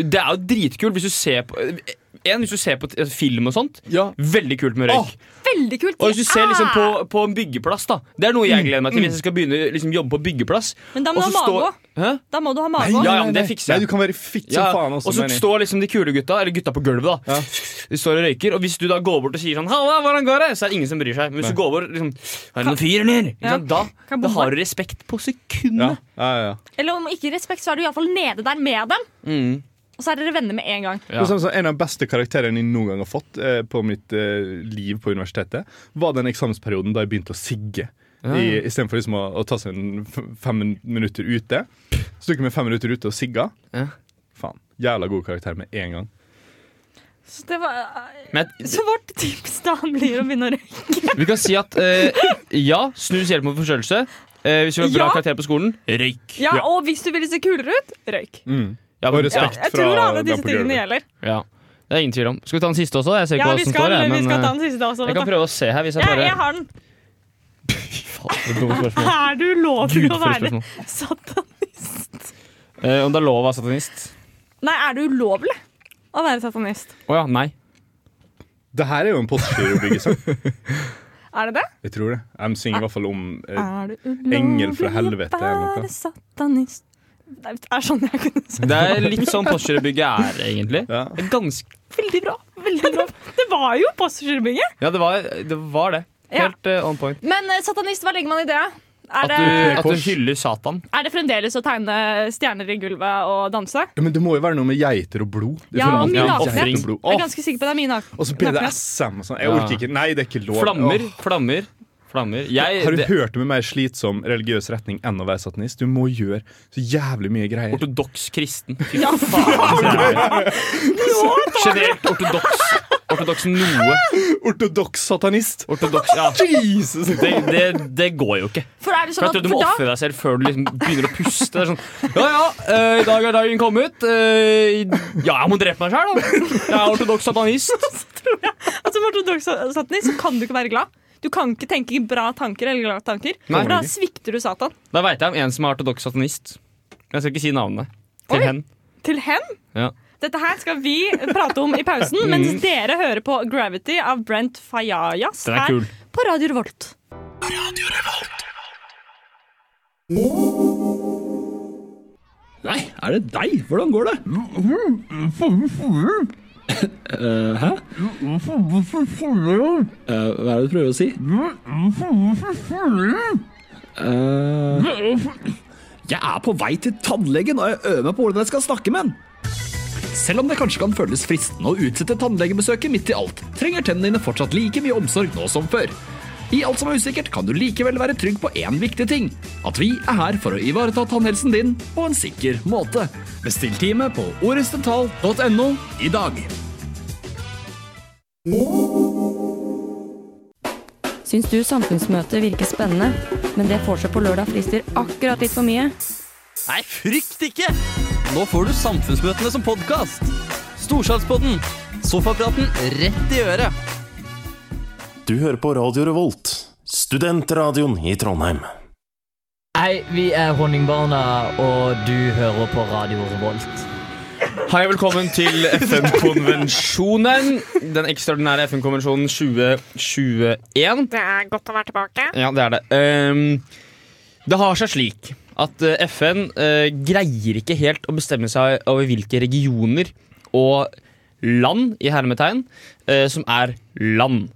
[SPEAKER 2] Det er jo dritkult hvis du ser på En, hvis du ser på t- altså, film og sånt.
[SPEAKER 4] Ja.
[SPEAKER 2] Veldig kult med røyk.
[SPEAKER 3] Veldig kult.
[SPEAKER 2] Og hvis du ser liksom på,
[SPEAKER 3] Ah!
[SPEAKER 2] på en byggeplass, da. Det er noe jeg gleder meg til hvis jeg skal begynne liksom, jobbe på byggeplass.
[SPEAKER 3] Men da må
[SPEAKER 2] Og
[SPEAKER 3] du ha
[SPEAKER 2] så
[SPEAKER 3] mage
[SPEAKER 2] står-
[SPEAKER 3] òg.
[SPEAKER 2] Hæ?
[SPEAKER 3] Da må du ha mage òg.
[SPEAKER 2] Ja, ja, men det fikser jeg.
[SPEAKER 4] Nei, du kan være fitt som
[SPEAKER 2] Ja,
[SPEAKER 4] faen
[SPEAKER 2] og
[SPEAKER 4] også.
[SPEAKER 2] så
[SPEAKER 4] mener jeg.
[SPEAKER 2] står liksom de kule gutta, eller gutta på gulvet, da.
[SPEAKER 4] Ja.
[SPEAKER 2] De står og røyker, og hvis du da går bort og sier sånn Halla, hvordan går det? Så er det ingen som bryr seg. Men hvis du går bort liksom Er det noen fyr, eller? Ikke
[SPEAKER 3] Ja.
[SPEAKER 2] sant? Da,
[SPEAKER 3] Kan
[SPEAKER 2] da
[SPEAKER 3] bombe.
[SPEAKER 2] har du respekt på
[SPEAKER 4] ja.
[SPEAKER 2] sekundet.
[SPEAKER 4] Ja, ja, ja.
[SPEAKER 3] Eller om ikke respekt, så er du iallfall nede der med dem.
[SPEAKER 2] Mm.
[SPEAKER 3] Og så er dere venner med en gang.
[SPEAKER 2] Ja.
[SPEAKER 4] Det er sånn som En av de beste karakterene jeg noen gang har fått eh, på mitt eh, liv på universitetet, var den eksamensperioden da jeg begynte å sigge. I- Istedenfor liksom å, å ta seg en f fem min- minutter ute. Så tok jeg meg fem minutter ute og sigga.
[SPEAKER 2] Ja.
[SPEAKER 4] Faen. Jævla god karakter med en gang.
[SPEAKER 3] Så, det var, eh,
[SPEAKER 2] Men jeg-
[SPEAKER 3] så vårt tips da blir å begynne å røyke.
[SPEAKER 2] Vi kan si at eh, ja, snus hjelper mot forkjølelse. Eh, hvis du har bra
[SPEAKER 3] Ja.
[SPEAKER 2] karakter på skolen, røyk.
[SPEAKER 3] Ja,
[SPEAKER 4] Ja.
[SPEAKER 3] Og hvis du vil se kulere ut, røyk.
[SPEAKER 4] Mm.
[SPEAKER 2] Ja,
[SPEAKER 4] Og
[SPEAKER 2] men-
[SPEAKER 4] respekt
[SPEAKER 3] Jeg
[SPEAKER 4] fra
[SPEAKER 3] tror alle
[SPEAKER 4] dem
[SPEAKER 3] disse
[SPEAKER 4] på
[SPEAKER 3] tingene
[SPEAKER 4] gulvet.
[SPEAKER 3] gjelder.
[SPEAKER 2] Ja. Det er ingen tvil om. Skal vi ta den siste også? Jeg ser
[SPEAKER 3] Ja,
[SPEAKER 2] ikke hva
[SPEAKER 3] vi
[SPEAKER 2] som
[SPEAKER 3] skal,
[SPEAKER 2] står. Jeg,
[SPEAKER 3] vi
[SPEAKER 2] men,
[SPEAKER 3] skal ta
[SPEAKER 2] eh,
[SPEAKER 3] den siste også.
[SPEAKER 2] jeg kan prøve å se her. Hvis jeg
[SPEAKER 3] Ja,
[SPEAKER 2] bare
[SPEAKER 3] jeg har den.
[SPEAKER 2] Faen, det er dumme spørsmål.
[SPEAKER 3] Er du lov
[SPEAKER 2] Gud,
[SPEAKER 3] til å
[SPEAKER 2] for et
[SPEAKER 3] være
[SPEAKER 2] spørsmål.
[SPEAKER 3] satanist?
[SPEAKER 2] Eh, om det er lov å være satanist?
[SPEAKER 3] Nei, er det ulovlig å være satanist?
[SPEAKER 2] Å ja, nei.
[SPEAKER 4] Det her er jo en postgirobyggesang.
[SPEAKER 3] Er det det?
[SPEAKER 4] Jeg tror det. De synger i hvert fall om eh,
[SPEAKER 3] Er det
[SPEAKER 4] Engel fra helvete,
[SPEAKER 3] å
[SPEAKER 4] eller noe?
[SPEAKER 3] være satanist? Det er sånn jeg kunne sagt.
[SPEAKER 2] Det er litt sånn Porsgrunn-bygget er, egentlig.
[SPEAKER 4] Ja.
[SPEAKER 2] Det er Ganske
[SPEAKER 3] Veldig bra. veldig bra. Det var jo Postgirobygget.
[SPEAKER 2] Ja, det var det. Var det.
[SPEAKER 3] Ja.
[SPEAKER 2] Helt eh, on point.
[SPEAKER 3] Men eh, satanist, hva legger man i det? Er
[SPEAKER 2] At
[SPEAKER 3] det,
[SPEAKER 2] du, at du
[SPEAKER 4] Kors.
[SPEAKER 2] hyller Satan.
[SPEAKER 3] er det fremdeles å tegne stjerner i gulvet og danse?
[SPEAKER 4] Ja, Men det må jo være noe med geiter og blod. Det
[SPEAKER 3] Ja,
[SPEAKER 4] føler
[SPEAKER 3] og
[SPEAKER 4] man-
[SPEAKER 3] mye
[SPEAKER 2] Ja,
[SPEAKER 3] nakenhet.
[SPEAKER 4] geiter
[SPEAKER 2] ofring.
[SPEAKER 4] og blod.
[SPEAKER 3] Jeg er
[SPEAKER 4] Åh,
[SPEAKER 3] ganske sikker på det er mye nakenhet.
[SPEAKER 4] Og så
[SPEAKER 3] nakenhet.
[SPEAKER 4] BDSM og sånn. Jeg orker ikke. Nei, det er ikke lov.
[SPEAKER 2] Flammer,
[SPEAKER 4] Åh.
[SPEAKER 2] flammer, flammer. Jeg,
[SPEAKER 4] Har du
[SPEAKER 2] det,
[SPEAKER 4] hørt om en mer slitsom religiøs retning enn å være satanist? Du må gjøre så jævlig mye greier.
[SPEAKER 2] ortodoks kristen.
[SPEAKER 3] Ja,
[SPEAKER 2] Generelt ortodoks. Ortodoks noe.
[SPEAKER 4] Ortodoks satanist!
[SPEAKER 2] Ortodoks, ja.
[SPEAKER 4] Jesus!
[SPEAKER 2] Det, det, det går jo ikke.
[SPEAKER 3] for er det
[SPEAKER 2] For
[SPEAKER 3] sånn
[SPEAKER 2] at
[SPEAKER 3] at
[SPEAKER 2] du må
[SPEAKER 3] for
[SPEAKER 2] ofre deg selv før du liksom begynner å puste. Det er sånn, ja ja, eh, i dag er dagen kommet. eh, i- ja, jeg må drepe meg sjøl, da. Jeg er ortodoks satanist.
[SPEAKER 3] da altså, for ortodoks satanist så kan du ikke være glad. Du kan ikke tenke bra tanker eller glade tanker.
[SPEAKER 2] Nei.
[SPEAKER 3] For da svikter du Satan.
[SPEAKER 2] Da veit jeg om en som er ortodoks satanist. Jeg skal ikke si navnet. Til
[SPEAKER 3] Oi.
[SPEAKER 2] hen.
[SPEAKER 3] Til hen.
[SPEAKER 2] Ja. Mm.
[SPEAKER 3] Dette her skal vi prate om i pausen, mens dere hører på Gravity av Brent Fayajas
[SPEAKER 2] Den er
[SPEAKER 3] her
[SPEAKER 2] kul.
[SPEAKER 3] på Radio Revolt.
[SPEAKER 6] Nei, er det deg? Hvordan går det? Eh, Hæ? Eh, Hva er det du prøver å si? Eh, Jeg er på vei til tannlegen, og jeg øver meg på hvordan jeg skal snakke med han. Selv om det kanskje kan føles fristende å utsette tannlegebesøket midt i alt, trenger tennene dine fortsatt like mye omsorg nå som før. I alt som er usikkert, kan du likevel være trygg på én viktig ting. At vi er her for å ivareta tannhelsen din på en sikker måte. Bestill time på orestdental.no i dag.
[SPEAKER 7] Syns du samfunnsmøtet virker spennende, men det får seg på lørdag frister akkurat litt for mye?
[SPEAKER 8] Nei, frykt ikke! Nå får du samfunnsmøtene som podkast. Storsalspodden. Sofapraten rett i øret.
[SPEAKER 9] Du hører på Radio Revolt, studentradioen i Trondheim.
[SPEAKER 10] Hei, vi er Honningbarna, og du hører på Radio Revolt.
[SPEAKER 2] Hei og velkommen til FN-konvensjonen. Den ekstraordinære FN-konvensjonen 2021.
[SPEAKER 3] Det er godt å være tilbake.
[SPEAKER 2] Ja, det er det. Ehm, det har seg slik at eh, FN eh, greier ikke helt å bestemme seg over hvilke regioner og land, i hermetegn, eh, som er land.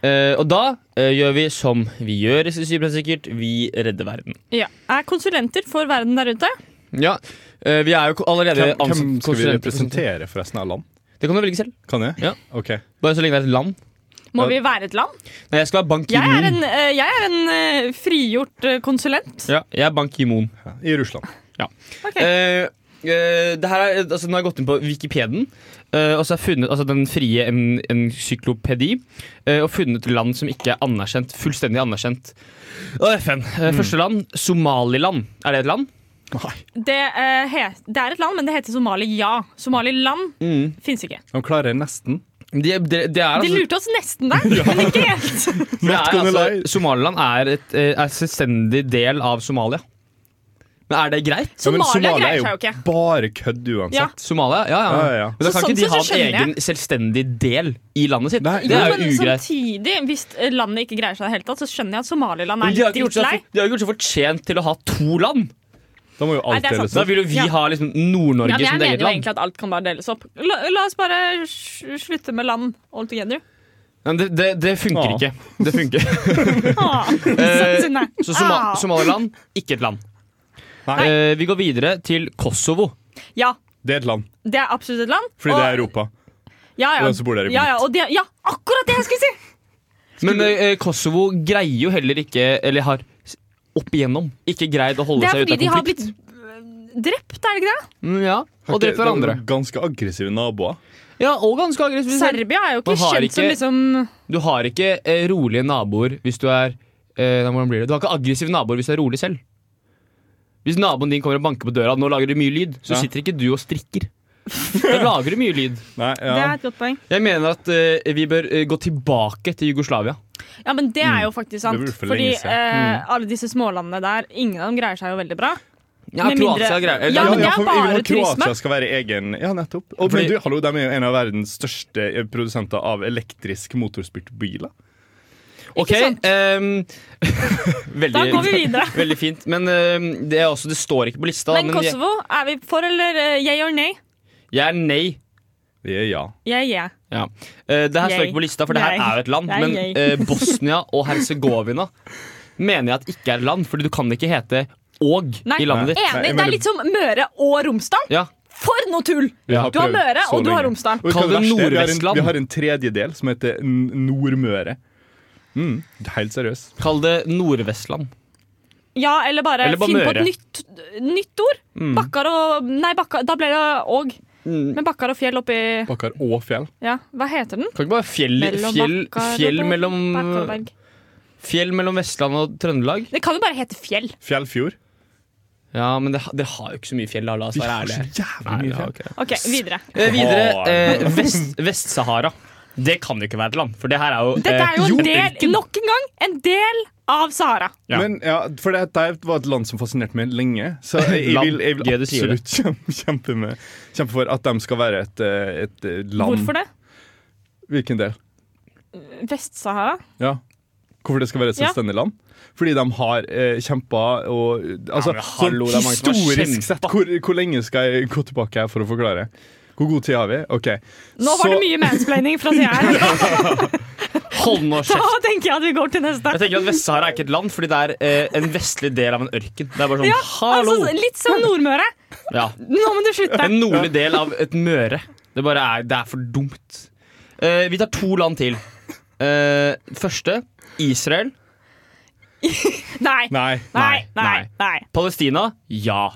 [SPEAKER 2] Eh, og da eh, gjør vi som vi gjør i Syvende sikkert, vi redder verden.
[SPEAKER 3] Ja. Er konsulenter for verden der ute?
[SPEAKER 2] Ja, eh, vi er jo ko- allerede
[SPEAKER 4] Hvem, hvem
[SPEAKER 2] ansatt
[SPEAKER 4] skal vi
[SPEAKER 2] konsulenter.
[SPEAKER 4] representere forresten av land?
[SPEAKER 2] Det kan du velge selv.
[SPEAKER 4] Kan jeg?
[SPEAKER 2] Ja.
[SPEAKER 4] Ok.
[SPEAKER 2] Bare så lenge det er et land.
[SPEAKER 3] Må vi være et land?
[SPEAKER 2] Nei, jeg skal være Ban
[SPEAKER 3] Jeg er
[SPEAKER 2] Ki-moon.
[SPEAKER 3] en, eh, jeg er en eh, frigjort eh, konsulent.
[SPEAKER 2] Ja, jeg er Ban Ki-moon.
[SPEAKER 4] I Russland.
[SPEAKER 2] Eh, eh, det her er, altså, nå har jeg gått inn på Wikipeden eh, og så har jeg funnet altså, den frie en, encyklopedi. eh, og funnet land som ikke er anerkjent, fullstendig anerkjent. Og FN. eh, Første land, Somaliland. Er det et land?
[SPEAKER 3] Det, eh, he- det er et land, men det heter Somalia. Somaliland fins ikke.
[SPEAKER 4] De klarer nesten.
[SPEAKER 2] Det det- Mm. det er
[SPEAKER 3] De
[SPEAKER 2] altså,
[SPEAKER 3] lurte oss nesten der, men ikke helt.
[SPEAKER 2] det er,
[SPEAKER 4] gonna
[SPEAKER 2] altså
[SPEAKER 4] lie.
[SPEAKER 2] Somaliland er et eh, er selvstendig del av Somalia. Men er det greit?
[SPEAKER 4] Ja, men
[SPEAKER 3] Somalia, greier seg jo ikke.
[SPEAKER 4] bare kødd uansett.
[SPEAKER 3] Ja.
[SPEAKER 2] Somalia? Ja, ja.
[SPEAKER 4] Ja, ja, ja.
[SPEAKER 2] Men
[SPEAKER 3] Så
[SPEAKER 2] da kan
[SPEAKER 3] sånn
[SPEAKER 2] ikke de
[SPEAKER 3] sett så
[SPEAKER 2] ha en
[SPEAKER 3] skjønner
[SPEAKER 2] egen selvstendig del i landet sitt.
[SPEAKER 4] Nei,
[SPEAKER 2] det
[SPEAKER 3] Jo,
[SPEAKER 2] er
[SPEAKER 3] men liksom
[SPEAKER 2] jo ugreit.
[SPEAKER 3] samtidig, hvis eh, landet ikke greier seg i det hele tatt, så skjønner jeg at Somaliland
[SPEAKER 2] Men
[SPEAKER 3] er
[SPEAKER 2] de har
[SPEAKER 3] litt
[SPEAKER 2] ikke gjort
[SPEAKER 3] drittlei.
[SPEAKER 2] seg, de har ikke gjort seg fortjent til å ha to land.
[SPEAKER 4] Da må jo alt
[SPEAKER 3] Nei, det er
[SPEAKER 4] deles
[SPEAKER 2] Da
[SPEAKER 3] sant.
[SPEAKER 4] opp.
[SPEAKER 2] vil jo vi
[SPEAKER 3] Ja.
[SPEAKER 2] ha liksom
[SPEAKER 3] Ja, men
[SPEAKER 2] Nord-Norge
[SPEAKER 3] jeg
[SPEAKER 2] som et
[SPEAKER 3] mener
[SPEAKER 2] eget
[SPEAKER 3] jo
[SPEAKER 2] land.
[SPEAKER 3] egentlig at alt kan bare deles opp. La, la oss bare sl- slutte med land all together.
[SPEAKER 2] Men det, det, det funker
[SPEAKER 4] Ah.
[SPEAKER 2] ikke. Det funker.
[SPEAKER 3] Ah,
[SPEAKER 2] Eh,
[SPEAKER 3] Nei.
[SPEAKER 2] Så Soma
[SPEAKER 3] Ah.
[SPEAKER 2] Somaliland, ikke et land.
[SPEAKER 4] Nei.
[SPEAKER 2] Eh, vi går videre til Kosovo.
[SPEAKER 3] Ja,
[SPEAKER 4] Det er et land.
[SPEAKER 3] det er absolutt et land.
[SPEAKER 4] Fordi det
[SPEAKER 3] og-
[SPEAKER 4] er Europa.
[SPEAKER 3] Ja, ja.
[SPEAKER 4] Og den som bor der i
[SPEAKER 3] ja, ja, og det, ja, akkurat det jeg skulle si!
[SPEAKER 2] Men eh, Kosovo greier jo heller ikke, eller har s- opp igjennom ikke greid å holde
[SPEAKER 3] Det er
[SPEAKER 2] seg
[SPEAKER 3] fordi
[SPEAKER 2] ute av
[SPEAKER 3] de har blitt
[SPEAKER 2] konflikt.
[SPEAKER 3] øh, drept, er det ikke det?
[SPEAKER 2] Mm, ja, Og drept
[SPEAKER 4] Det- det er
[SPEAKER 2] hverandre.
[SPEAKER 4] Ganske aggressive naboer.
[SPEAKER 2] Ja, og ganske aggressivt.
[SPEAKER 3] Serbia er jo ikke
[SPEAKER 2] Man har
[SPEAKER 3] kjent som
[SPEAKER 2] ikke-
[SPEAKER 3] liksom
[SPEAKER 2] Du har ikke eh, rolige naboer hvis du er eh, nei, hvordan blir det? Du har ikke aggressive naboer hvis du er rolig selv. Hvis naboen din kommer og banker på døra, nå lager du mye lyd, så
[SPEAKER 4] Ja.
[SPEAKER 2] sitter ikke du og strikker. Der lager du mye lyd.
[SPEAKER 3] Det er et godt poeng.
[SPEAKER 2] Jeg mener at eh, vi bør eh, gå tilbake til Jugoslavia.
[SPEAKER 3] Ja, men det er jo faktisk sant.
[SPEAKER 2] Det burde for
[SPEAKER 3] fordi
[SPEAKER 2] lenge siden. Mm.
[SPEAKER 3] eh, alle disse smålandene der, ingen av dem greier seg jo veldig bra.
[SPEAKER 2] Ja,
[SPEAKER 3] Med mindre-
[SPEAKER 2] Kroatia Eh, greier-
[SPEAKER 3] Ja, men det er
[SPEAKER 4] for vi vil
[SPEAKER 3] bare
[SPEAKER 4] at Kroatia
[SPEAKER 3] turisme.
[SPEAKER 4] skal være egen Ja, nettopp. Og, men du, hallo, De er jo en av verdens største eh, produsenter av elektrisk motorspyrte biler.
[SPEAKER 2] Ok, ehm, veldig,
[SPEAKER 4] Da går vi videre.
[SPEAKER 2] Veldig fint, men ehm, det, er også, det står ikke på lista. da,
[SPEAKER 3] Men
[SPEAKER 2] jeg-
[SPEAKER 3] Kosovo, er vi for eller uh, yeah or nay?
[SPEAKER 2] Jeg er nei. Det er ja.
[SPEAKER 3] Jeg er yeah.
[SPEAKER 2] Eh, det her står
[SPEAKER 3] Jeg.
[SPEAKER 2] ikke på lista, for det her
[SPEAKER 3] Jeg.
[SPEAKER 2] er jo et land.
[SPEAKER 3] Jeg.
[SPEAKER 2] Men eh, Bosnia og Herzegovina mener jeg at ikke er land, Fordi du kan ikke hete og
[SPEAKER 3] Nei,
[SPEAKER 2] i landet ditt.
[SPEAKER 3] enig. Det er litt som Møre og Romsdal.
[SPEAKER 2] Ja.
[SPEAKER 3] For noe tull! Du
[SPEAKER 4] Vi
[SPEAKER 3] har
[SPEAKER 4] prøvd
[SPEAKER 3] Møre,
[SPEAKER 4] så
[SPEAKER 3] og du
[SPEAKER 4] lenge.
[SPEAKER 3] har Romsdal.
[SPEAKER 4] Og vet du hva
[SPEAKER 2] Kall det
[SPEAKER 4] verste er? Vi har en-
[SPEAKER 2] Nordvestland.
[SPEAKER 4] Vi har en tredjedel som heter N- Nordmøre. Mm, helt seriøst.
[SPEAKER 2] Kall det Nordvestland.
[SPEAKER 3] Ja, eller bare,
[SPEAKER 4] Eller bare
[SPEAKER 3] finn på
[SPEAKER 4] Møre.
[SPEAKER 3] et nytt, nytt ord.
[SPEAKER 4] Mm.
[SPEAKER 3] Bakkar og Nei, Bakkar, da ble det Åg.
[SPEAKER 2] Mm.
[SPEAKER 3] Men Bakkar og fjell oppi
[SPEAKER 4] Bakkar og fjell.
[SPEAKER 3] Ja, hva heter den?
[SPEAKER 2] Kan ikke bare fjell
[SPEAKER 3] Mellom
[SPEAKER 2] Fjell,
[SPEAKER 3] Bakkar og
[SPEAKER 2] fjell
[SPEAKER 3] Berg-
[SPEAKER 2] mellom
[SPEAKER 3] Bakkarberg.
[SPEAKER 2] Fjell mellom Vestland og Trøndelag?
[SPEAKER 3] Det kan jo bare hete fjell.
[SPEAKER 4] Fjellfjord.
[SPEAKER 2] Ja, men det- dere har jo ikke så mye fjell, da. La oss
[SPEAKER 4] Vi
[SPEAKER 2] være
[SPEAKER 4] har
[SPEAKER 2] ærlige.
[SPEAKER 4] så jævlig mye
[SPEAKER 2] Nei, ja,
[SPEAKER 4] fjell.
[SPEAKER 2] ok.
[SPEAKER 3] OK, videre.
[SPEAKER 2] Eh, videre.
[SPEAKER 4] Åh.
[SPEAKER 2] Eh, Vest- Vest-Sahara. det kan jo ikke være et land, for det her er jo
[SPEAKER 3] Dette er jo
[SPEAKER 2] eh,
[SPEAKER 3] en del, nok en gang, en del av Sahara.
[SPEAKER 4] Men ja, for dette var et land som fascinerte meg lenge. Så jeg, jeg
[SPEAKER 2] Land.
[SPEAKER 4] vil, jeg vil
[SPEAKER 2] Gøy du sier det.
[SPEAKER 4] absolutt kjempe, kjempe, med, kjempe for at de skal være et, eh, et eh, land.
[SPEAKER 3] Hvorfor det?
[SPEAKER 4] Hvilken del?
[SPEAKER 3] Vest-Sahara?
[SPEAKER 4] Ja. Hvorfor det skal være et
[SPEAKER 3] Ja.
[SPEAKER 4] selvstendig land? Fordi de har eh, kjempa og
[SPEAKER 2] Ja,
[SPEAKER 4] altså,
[SPEAKER 2] men hallo, det er mange som har
[SPEAKER 4] Historisk sett, hvor, hvor lenge skal jeg gå tilbake her for å forklare? Hvor god tid har vi? OK.
[SPEAKER 3] Nå var det mye mansplaining fra sida her.
[SPEAKER 2] Hold nå
[SPEAKER 3] Da
[SPEAKER 2] kjeft.
[SPEAKER 3] tenker jeg at vi går til neste.
[SPEAKER 2] Jeg tenker at Vest-Sahara er ikke et land, fordi det er eh, en vestlig del av en ørken. Det er bare sånn,
[SPEAKER 3] Ja,
[SPEAKER 2] hallo!
[SPEAKER 3] altså, litt som Nordmøre.
[SPEAKER 2] Ja.
[SPEAKER 3] Nå må du slutte.
[SPEAKER 2] En nordlig del av et Møre. Det bare er, det er for dumt. Eh, vi tar to land til. Eh, første Israel.
[SPEAKER 3] Nei.
[SPEAKER 2] Nei.
[SPEAKER 3] Nei, nei, nei.
[SPEAKER 2] Palestina ja.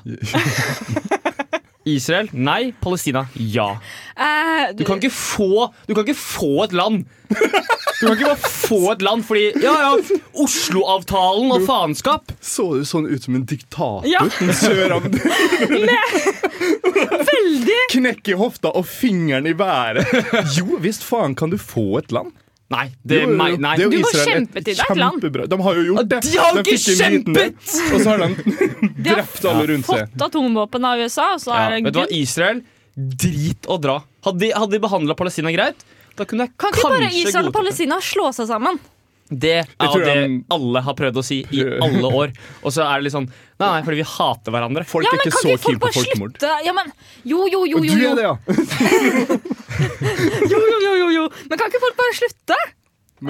[SPEAKER 2] Israel nei. Palestina ja.
[SPEAKER 3] Eh,
[SPEAKER 2] Du kan ikke få Du kan ikke få et land! Du kan ikke bare få et land fordi Ja, ja, Oslo-avtalen og faenskap!
[SPEAKER 4] Så du sånn ut som en diktator?
[SPEAKER 2] Ja.
[SPEAKER 4] En sørab-
[SPEAKER 3] Veldig!
[SPEAKER 4] Knekk i hofta og fingeren i været. Jo visst faen kan du få et land.
[SPEAKER 2] Nei, det er meg- nei. Du må kjempe til deg et land.
[SPEAKER 4] De har jo gjort det.
[SPEAKER 2] De har jo ikke
[SPEAKER 4] fikk en liten-
[SPEAKER 2] kjempet!
[SPEAKER 4] Og så har de drept alle rundt seg.
[SPEAKER 3] Fått atomvåpen av USA, og så
[SPEAKER 2] Ja,
[SPEAKER 3] er det
[SPEAKER 2] vet du hva,
[SPEAKER 3] good.
[SPEAKER 2] Israel, drit å dra. Hadde de, hadde de behandla Palestina greit, da kunne jeg
[SPEAKER 3] Kan ikke bare
[SPEAKER 2] kanskje
[SPEAKER 3] Israel og
[SPEAKER 2] godta det.
[SPEAKER 3] Palestina slå seg sammen?
[SPEAKER 2] Det er
[SPEAKER 4] tror
[SPEAKER 2] jo det
[SPEAKER 4] han-
[SPEAKER 2] alle har prøvd å si i alle år. Og så er det litt sånn Nei, nei, fordi vi hater hverandre.
[SPEAKER 4] Folk
[SPEAKER 3] Ja, men kan ikke folk bare slutte? Ja, men, jo, jo, jo,
[SPEAKER 4] Og
[SPEAKER 3] jo,
[SPEAKER 4] du
[SPEAKER 3] jo.
[SPEAKER 4] er det, ja.
[SPEAKER 3] jo, jo, jo, jo, jo. Men kan ikke folk bare slutte å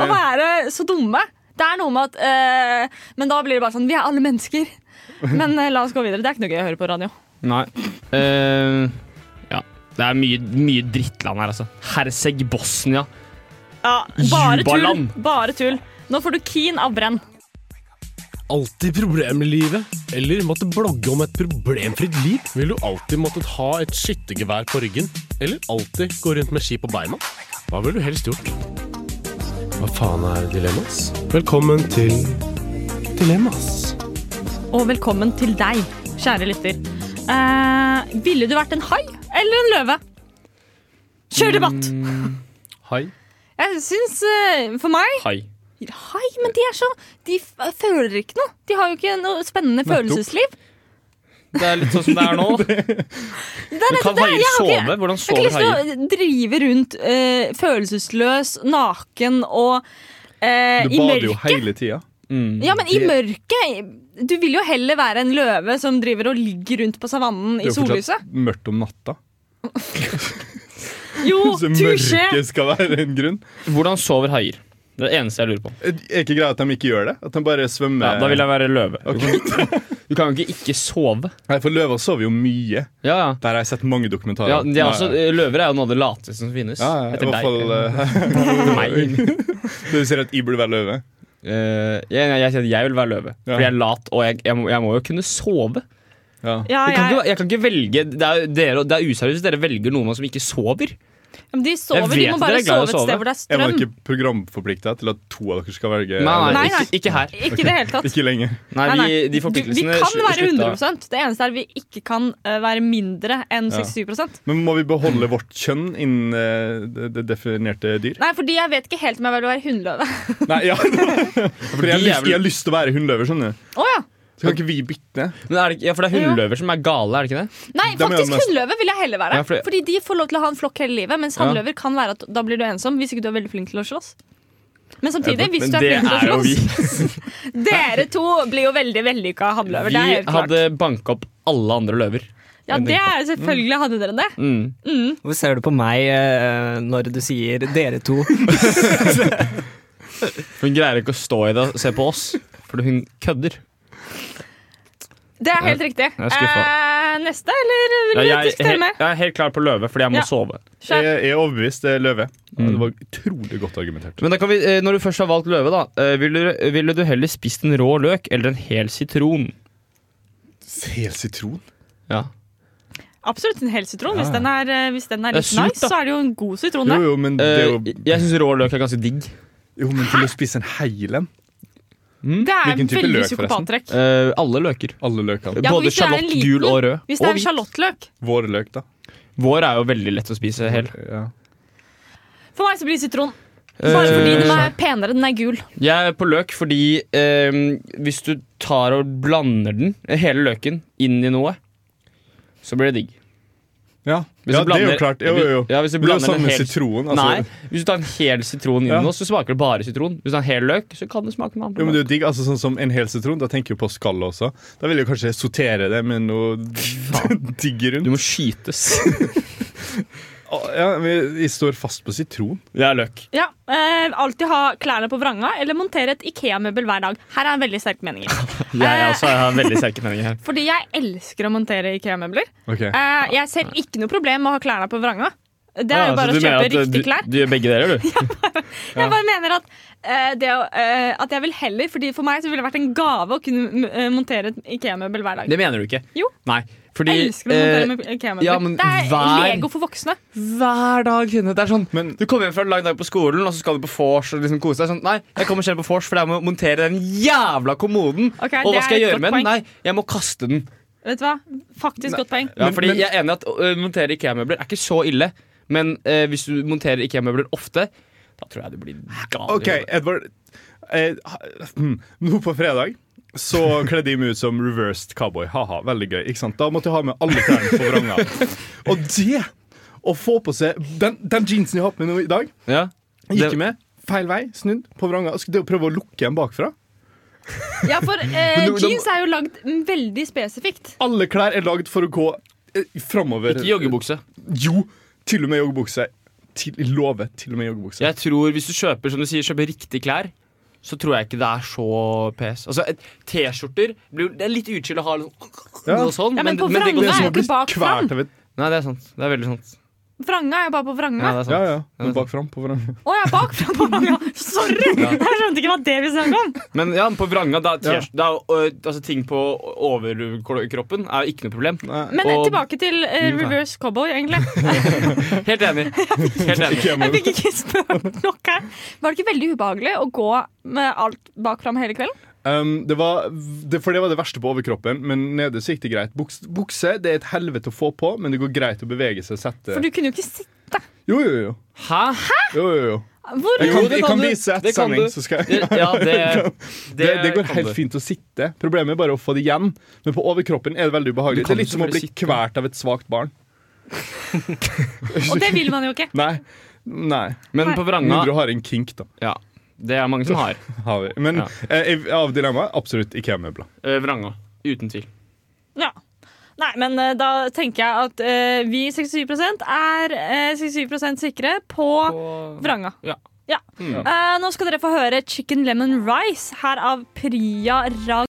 [SPEAKER 4] Men-
[SPEAKER 3] være så dumme? Det er noe med at eh, Men da blir det bare sånn Vi er alle mennesker. Men eh, la oss gå videre. Det er ikke noe gøy å høre på radio.
[SPEAKER 2] Nei. Eh, ja. Det er mye, mye drittland her, altså. Herceg Bosnia.
[SPEAKER 3] Ja, bare tull.
[SPEAKER 2] Jubaland.
[SPEAKER 3] Bare tull. Nå får du keen av brenn.
[SPEAKER 11] Alltid problem i livet? Eller måtte blogge om et problemfritt liv? Vil du alltid måttet ha et skyttergevær på ryggen? Eller alltid gå rundt med ski på beina? Hva ville du helst gjort? Hva faen er dilemmas? Velkommen til Dilemmas.
[SPEAKER 3] Og velkommen til deg, kjære lytter. Eh, ville du vært en hai eller en løve? Kjør debatt!
[SPEAKER 2] Mm, Hai.
[SPEAKER 3] Jeg syns eh, For meg
[SPEAKER 2] Hai.
[SPEAKER 3] Hai, men de er så De f føler ikke noe. De har jo ikke noe spennende følelsesliv.
[SPEAKER 2] Det er litt sånn som det er nå.
[SPEAKER 3] Det er
[SPEAKER 2] Men
[SPEAKER 3] rett
[SPEAKER 2] kan
[SPEAKER 3] og slett-
[SPEAKER 2] haier
[SPEAKER 3] jeg har
[SPEAKER 2] sove? Hvordan
[SPEAKER 3] Jeg
[SPEAKER 2] sover
[SPEAKER 3] har ikke lyst til å drive rundt eh, følelsesløs, naken og eh,
[SPEAKER 4] Du
[SPEAKER 3] i
[SPEAKER 4] bader jo
[SPEAKER 3] mørket.
[SPEAKER 4] hele tida.
[SPEAKER 2] Mm.
[SPEAKER 3] Ja, men i
[SPEAKER 4] Det-
[SPEAKER 3] mørket Du vil jo heller være en løve som driver og ligger rundt på savannen i
[SPEAKER 4] Det er jo fortsatt
[SPEAKER 3] sollyset.
[SPEAKER 4] mørkt om natta.
[SPEAKER 3] Jo,
[SPEAKER 4] Så
[SPEAKER 3] touché!
[SPEAKER 4] mørket skal være en grunn.
[SPEAKER 2] Hvordan sover haier? Det er det eneste jeg lurer på.
[SPEAKER 4] Er ikke greia at de ikke gjør det? At de bare svømmer
[SPEAKER 2] Ja, da vil jeg være løve. Du kan jo ikke ikke sove.
[SPEAKER 4] Nei, For løver sover jo mye. Der har jeg sett mange dokumentarer.
[SPEAKER 2] Ja, de er
[SPEAKER 4] Ja,
[SPEAKER 2] også,
[SPEAKER 4] ja.
[SPEAKER 2] løver er jo noe av det lateste som finnes.
[SPEAKER 4] Ja, ja, i
[SPEAKER 2] Etter
[SPEAKER 4] hvert
[SPEAKER 2] deg.
[SPEAKER 4] fall,
[SPEAKER 2] Etter
[SPEAKER 4] eh,
[SPEAKER 2] meg. Eh,
[SPEAKER 4] Du sier at jeg burde være løve?
[SPEAKER 2] jeg, jeg, jeg sier at jeg vil være løve,
[SPEAKER 4] Ja.
[SPEAKER 2] fordi jeg er lat og jeg, jeg, må, jeg må jo kunne sove.
[SPEAKER 4] Ja.
[SPEAKER 3] Ja,
[SPEAKER 2] jeg, kan
[SPEAKER 3] jeg-
[SPEAKER 2] ikke, jeg kan ikke velge Det er, jo dere, det er useriøst. Dere velger noen som ikke sover.
[SPEAKER 3] Men de sover, de må bare sove et sted hvor det er
[SPEAKER 4] Jeg var
[SPEAKER 3] strøm.
[SPEAKER 4] ikke programforplikta til at to av dere skal velge.
[SPEAKER 2] Nei, nei, Nei, nei. ikke- ikke her.
[SPEAKER 3] Ikke i det hele tatt.
[SPEAKER 4] Ikke lenger.
[SPEAKER 2] Nei,
[SPEAKER 3] Nei,
[SPEAKER 2] vi, de
[SPEAKER 3] Du, vi
[SPEAKER 2] forpliktelsene
[SPEAKER 3] kan
[SPEAKER 2] slu-
[SPEAKER 3] være
[SPEAKER 2] slutta.
[SPEAKER 3] 100 Det eneste er vi ikke kan eh, være mindre enn
[SPEAKER 4] Ja.
[SPEAKER 3] 67
[SPEAKER 4] Men må vi beholde vårt kjønn innen eh, det, det definerte dyr?
[SPEAKER 3] Nei, fordi jeg vet ikke helt om jeg vil være hundløve.
[SPEAKER 4] Nei, ja For jeg, har
[SPEAKER 2] de er
[SPEAKER 4] lyst-
[SPEAKER 2] vel-
[SPEAKER 4] jeg har lyst til å være hundløver, skjønner du.
[SPEAKER 3] Å ja.
[SPEAKER 4] Så kan ikke vi bytte?
[SPEAKER 2] Men er det, ikke- ja, for det er hundløver som er gale, er det ikke det?
[SPEAKER 3] Nei,
[SPEAKER 2] Da må jeg
[SPEAKER 3] faktisk
[SPEAKER 2] mest-
[SPEAKER 3] hundløve vil jeg heller være.
[SPEAKER 2] Ja, fordi-
[SPEAKER 3] Fordi de får lov til å ha en flokk hele livet, mens
[SPEAKER 2] Ja.
[SPEAKER 3] hannløver kan være at da blir du ensom hvis ikke du er veldig flink til å slåss. Men samtidig,
[SPEAKER 2] Ja,
[SPEAKER 3] hvis
[SPEAKER 2] men
[SPEAKER 3] du er
[SPEAKER 2] det
[SPEAKER 3] flink til å
[SPEAKER 2] er jo
[SPEAKER 3] slåss Dere to blir jo veldig vellykka hannløver. Det er
[SPEAKER 2] Vi
[SPEAKER 3] helt klart.
[SPEAKER 2] hadde Mm. banka opp alle andre løver.
[SPEAKER 3] Ja, det er selvfølgelig hadde dere det. Mm.
[SPEAKER 5] Hvorfor ser du på meg eh, når du sier 'dere to'?
[SPEAKER 2] Hun greier ikke å stå i det og se på oss, for hun kødder.
[SPEAKER 3] Det er helt
[SPEAKER 2] Jeg-
[SPEAKER 3] riktig.
[SPEAKER 2] jeg er skuffa.
[SPEAKER 3] Eh, neste, eller vil du
[SPEAKER 2] jeg, eh,
[SPEAKER 3] diskutere
[SPEAKER 2] jeg
[SPEAKER 3] mer?
[SPEAKER 2] er helt klar på løve, fordi jeg
[SPEAKER 3] Ja.
[SPEAKER 2] må sove.
[SPEAKER 3] Kjør.
[SPEAKER 4] Jeg, jeg er overbevist. Det er løve.
[SPEAKER 2] Mm.
[SPEAKER 4] Ja, det var utrolig godt argumentert.
[SPEAKER 2] Men da kan vi, eh, Når du først har valgt løve, da eh, ville, du- ville du heller spist en rå løk eller en hel sitron?
[SPEAKER 4] Hel sitron?
[SPEAKER 2] Ja.
[SPEAKER 3] Absolutt en hel sitron. Hvis
[SPEAKER 2] Ja.
[SPEAKER 3] den er, eh, hvis den er
[SPEAKER 2] Det er
[SPEAKER 3] litt
[SPEAKER 2] surt,
[SPEAKER 3] nice,
[SPEAKER 2] da.
[SPEAKER 3] så er det jo en god sitron. det.
[SPEAKER 2] Eh, Jeg syns rå løk er ganske digg.
[SPEAKER 4] Jo, men til å spise en heil en?
[SPEAKER 3] Det er veldig psykopattrekk.
[SPEAKER 2] alle løker.
[SPEAKER 4] Alle løkene.
[SPEAKER 3] Ja,
[SPEAKER 2] Eh, Både
[SPEAKER 3] hvis det er en
[SPEAKER 2] sjalott,
[SPEAKER 3] liten-
[SPEAKER 2] gul og rød.
[SPEAKER 3] Hvis det er
[SPEAKER 2] Og
[SPEAKER 3] en
[SPEAKER 2] hvit.
[SPEAKER 3] sjalottløk.
[SPEAKER 4] Vår løk, da.
[SPEAKER 2] Vår er jo veldig lett å spise hel.
[SPEAKER 3] For meg så blir det sitron. Bare fordi
[SPEAKER 2] Eh,
[SPEAKER 3] den er penere. Den er gul.
[SPEAKER 2] Jeg er på løk fordi ehm, hvis du tar og blander den, eh, hele løken, inn i noe, så blir det digg.
[SPEAKER 4] Ja,
[SPEAKER 2] Hvis du
[SPEAKER 4] det er jo
[SPEAKER 2] blander-
[SPEAKER 4] klart. Jo, jo, jo.
[SPEAKER 2] Ja, hvis du
[SPEAKER 4] det er jo
[SPEAKER 2] blander en
[SPEAKER 4] samme
[SPEAKER 2] hel-
[SPEAKER 4] sitron. Altså.
[SPEAKER 2] Nei, hvis du tar en hel sitron inn i
[SPEAKER 4] Ja.
[SPEAKER 2] noe, så smaker det bare sitron. Hvis du tar en hel løk, så kan det smake med
[SPEAKER 4] Jo,
[SPEAKER 2] andre.
[SPEAKER 4] men det er
[SPEAKER 2] løk.
[SPEAKER 4] jo digg, altså sånn som En hel sitron, da tenker jeg på skallet også. Da vil jeg kanskje sortere det med noe digg rundt. Du
[SPEAKER 2] må skytes.
[SPEAKER 4] ja, men jeg står fast på sitron.
[SPEAKER 2] Det er løk.
[SPEAKER 3] Ja, eh, Alltid ha klærne på vranga eller montere et Ikea-møbel hver dag. Her er en veldig sterk mening.
[SPEAKER 2] Jeg,
[SPEAKER 3] Eh.
[SPEAKER 2] jeg også har veldig sterke meninger her.
[SPEAKER 3] Fordi jeg elsker å montere Ikea-møbler.
[SPEAKER 2] Ok.
[SPEAKER 3] Eh, jeg ser ikke noe problem med å ha klærne på vranga. Det er
[SPEAKER 2] Ja,
[SPEAKER 3] jo bare
[SPEAKER 2] så
[SPEAKER 3] å
[SPEAKER 2] du
[SPEAKER 3] kjøpe
[SPEAKER 2] mener at, eh,
[SPEAKER 3] riktig klær.
[SPEAKER 2] Du, du gjør begge deler, du?
[SPEAKER 3] Jeg bare mener at, eh, det, å, eh, at jeg vil heller Fordi For meg så ville det vært en gave å kunne m- eh, montere et Ikea-møbel hver dag.
[SPEAKER 2] Det mener du ikke.
[SPEAKER 3] Jo.
[SPEAKER 2] Nei, fordi
[SPEAKER 3] jeg elsker å montere
[SPEAKER 2] eh,
[SPEAKER 3] med Ikea-møbler.
[SPEAKER 2] ja, men
[SPEAKER 3] det er
[SPEAKER 2] hver-
[SPEAKER 3] Lego for voksne.
[SPEAKER 2] Hver dag, Trine. Det er sånn, du kommer hjem fra en lang dag på skolen, og så skal du på vors og liksom kose deg. Sånn, nei, jeg kommer selv på vors, for jeg må montere den jævla kommoden.
[SPEAKER 3] Ok,
[SPEAKER 2] og
[SPEAKER 3] det
[SPEAKER 2] hva skal
[SPEAKER 3] er et
[SPEAKER 2] jeg gjøre med
[SPEAKER 3] godt
[SPEAKER 2] den? Nei, jeg må kaste den.
[SPEAKER 3] Vet du hva? Faktisk godt poeng.
[SPEAKER 2] Ja, fordi jeg er enig i at å montere IKEA-møbler er ikke så ille, men eh, hvis du monterer IKEA-møbler ofte, da tror jeg du blir gal. i
[SPEAKER 4] OK,
[SPEAKER 2] hodet.
[SPEAKER 4] Edvard. Eh, ha- hm, nå på fredag så kledde jeg meg ut som reversed cowboy. Haha, veldig gøy. ikke sant? Da måtte jeg ha med alle klærne på vranga. Og det å få på seg den, den jeansen jeg har på meg nå i dag,
[SPEAKER 2] Ja.
[SPEAKER 4] gikk
[SPEAKER 2] Det-
[SPEAKER 4] jeg med feil vei, snudd på vranga. Skulle det å prøve å lukke en bakfra.
[SPEAKER 3] Ja, for eh,
[SPEAKER 4] Men du-
[SPEAKER 3] jeans er jo lagd veldig spesifikt.
[SPEAKER 4] Alle klær er lagd for å gå eh, framover.
[SPEAKER 2] Ikke joggebukse.
[SPEAKER 4] Jo, til og med joggebukse. Til, jeg lover, til og med joggebukse.
[SPEAKER 2] Jeg tror Hvis du kjøper som du sier, kjøper riktig klær, så tror jeg ikke det er så pes. Altså, et- T-skjorter blir jo- Det er litt utskill å ha litt sånn,
[SPEAKER 4] Ja.
[SPEAKER 2] og sånn,
[SPEAKER 3] Ja, men på
[SPEAKER 2] det
[SPEAKER 3] vranga
[SPEAKER 2] går-
[SPEAKER 3] er jo ikke bak fram.
[SPEAKER 2] Nei, det er sant. Det er veldig sant.
[SPEAKER 3] Vranga er jo bare på vranga.
[SPEAKER 2] Ja, det er sant.
[SPEAKER 4] Ja, ja. Men bak fram på vranga.
[SPEAKER 3] Å ja, bak fram på vranga! Sorry!
[SPEAKER 2] Ja.
[SPEAKER 3] Jeg skjønte ikke hva det vi snakket om.
[SPEAKER 2] Men ja, på vranga da,
[SPEAKER 4] Ja.
[SPEAKER 2] t-skjort- da, ø, altså, Ting på overkroppen er jo ikke noe problem.
[SPEAKER 3] Men eh,
[SPEAKER 2] Og-
[SPEAKER 3] tilbake til eh,
[SPEAKER 2] Mm, nei.
[SPEAKER 3] reverse cowboy, egentlig.
[SPEAKER 2] Helt enig. Helt
[SPEAKER 3] Jeg
[SPEAKER 2] enig.
[SPEAKER 3] fikk ikke spurt nok her. Var det ikke veldig ubehagelig å gå med alt bak fram hele kvelden?
[SPEAKER 4] Um, det var, det, for det var det verste på overkroppen, men nede så gikk det greit. Buks, bukse det er et helvete å få på, men det går greit å bevege seg. Sette.
[SPEAKER 3] For du kunne jo ikke sitte
[SPEAKER 4] Jo, jo, jo.
[SPEAKER 2] Hæ?
[SPEAKER 4] Jo, jo, jo.
[SPEAKER 3] Hvor?
[SPEAKER 4] Jeg kan,
[SPEAKER 2] Jo, det
[SPEAKER 4] jeg
[SPEAKER 2] kan
[SPEAKER 4] kan
[SPEAKER 2] du.
[SPEAKER 4] vise
[SPEAKER 2] Det
[SPEAKER 4] ett
[SPEAKER 2] kan
[SPEAKER 4] sending,
[SPEAKER 2] du.
[SPEAKER 4] så skal jeg
[SPEAKER 2] Det- ja, det-
[SPEAKER 4] det, det,
[SPEAKER 2] det
[SPEAKER 4] går
[SPEAKER 2] kan du.
[SPEAKER 4] helt fint å sitte. Problemet er bare å få det igjen. Men på overkroppen er det veldig
[SPEAKER 2] Du
[SPEAKER 4] ubehagelig. Det
[SPEAKER 2] kan
[SPEAKER 4] er litt
[SPEAKER 2] ikke
[SPEAKER 4] som å
[SPEAKER 2] bare
[SPEAKER 4] bli
[SPEAKER 2] sitte.
[SPEAKER 4] kvalt av et svakt barn.
[SPEAKER 3] Og det vil man jo ikke.
[SPEAKER 4] Nei. Nei.
[SPEAKER 2] Men på vranga-
[SPEAKER 4] Mindre du har en kink, da.
[SPEAKER 2] Ja. Det er mange som har.
[SPEAKER 4] har vi. Men
[SPEAKER 2] Ja.
[SPEAKER 4] eh, av dilemmaet absolutt IKEA-møbler.
[SPEAKER 2] Ø, Vranga. Uten tvil.
[SPEAKER 3] Ja. Nei, men eh, da tenker jeg at eh, vi 67 er eh, 67 sikre på, vranga.
[SPEAKER 2] Ja.
[SPEAKER 3] Ja.
[SPEAKER 2] Mm.
[SPEAKER 3] Eh, nå skal dere få høre Chicken Lemon Rice her av Priya Rag...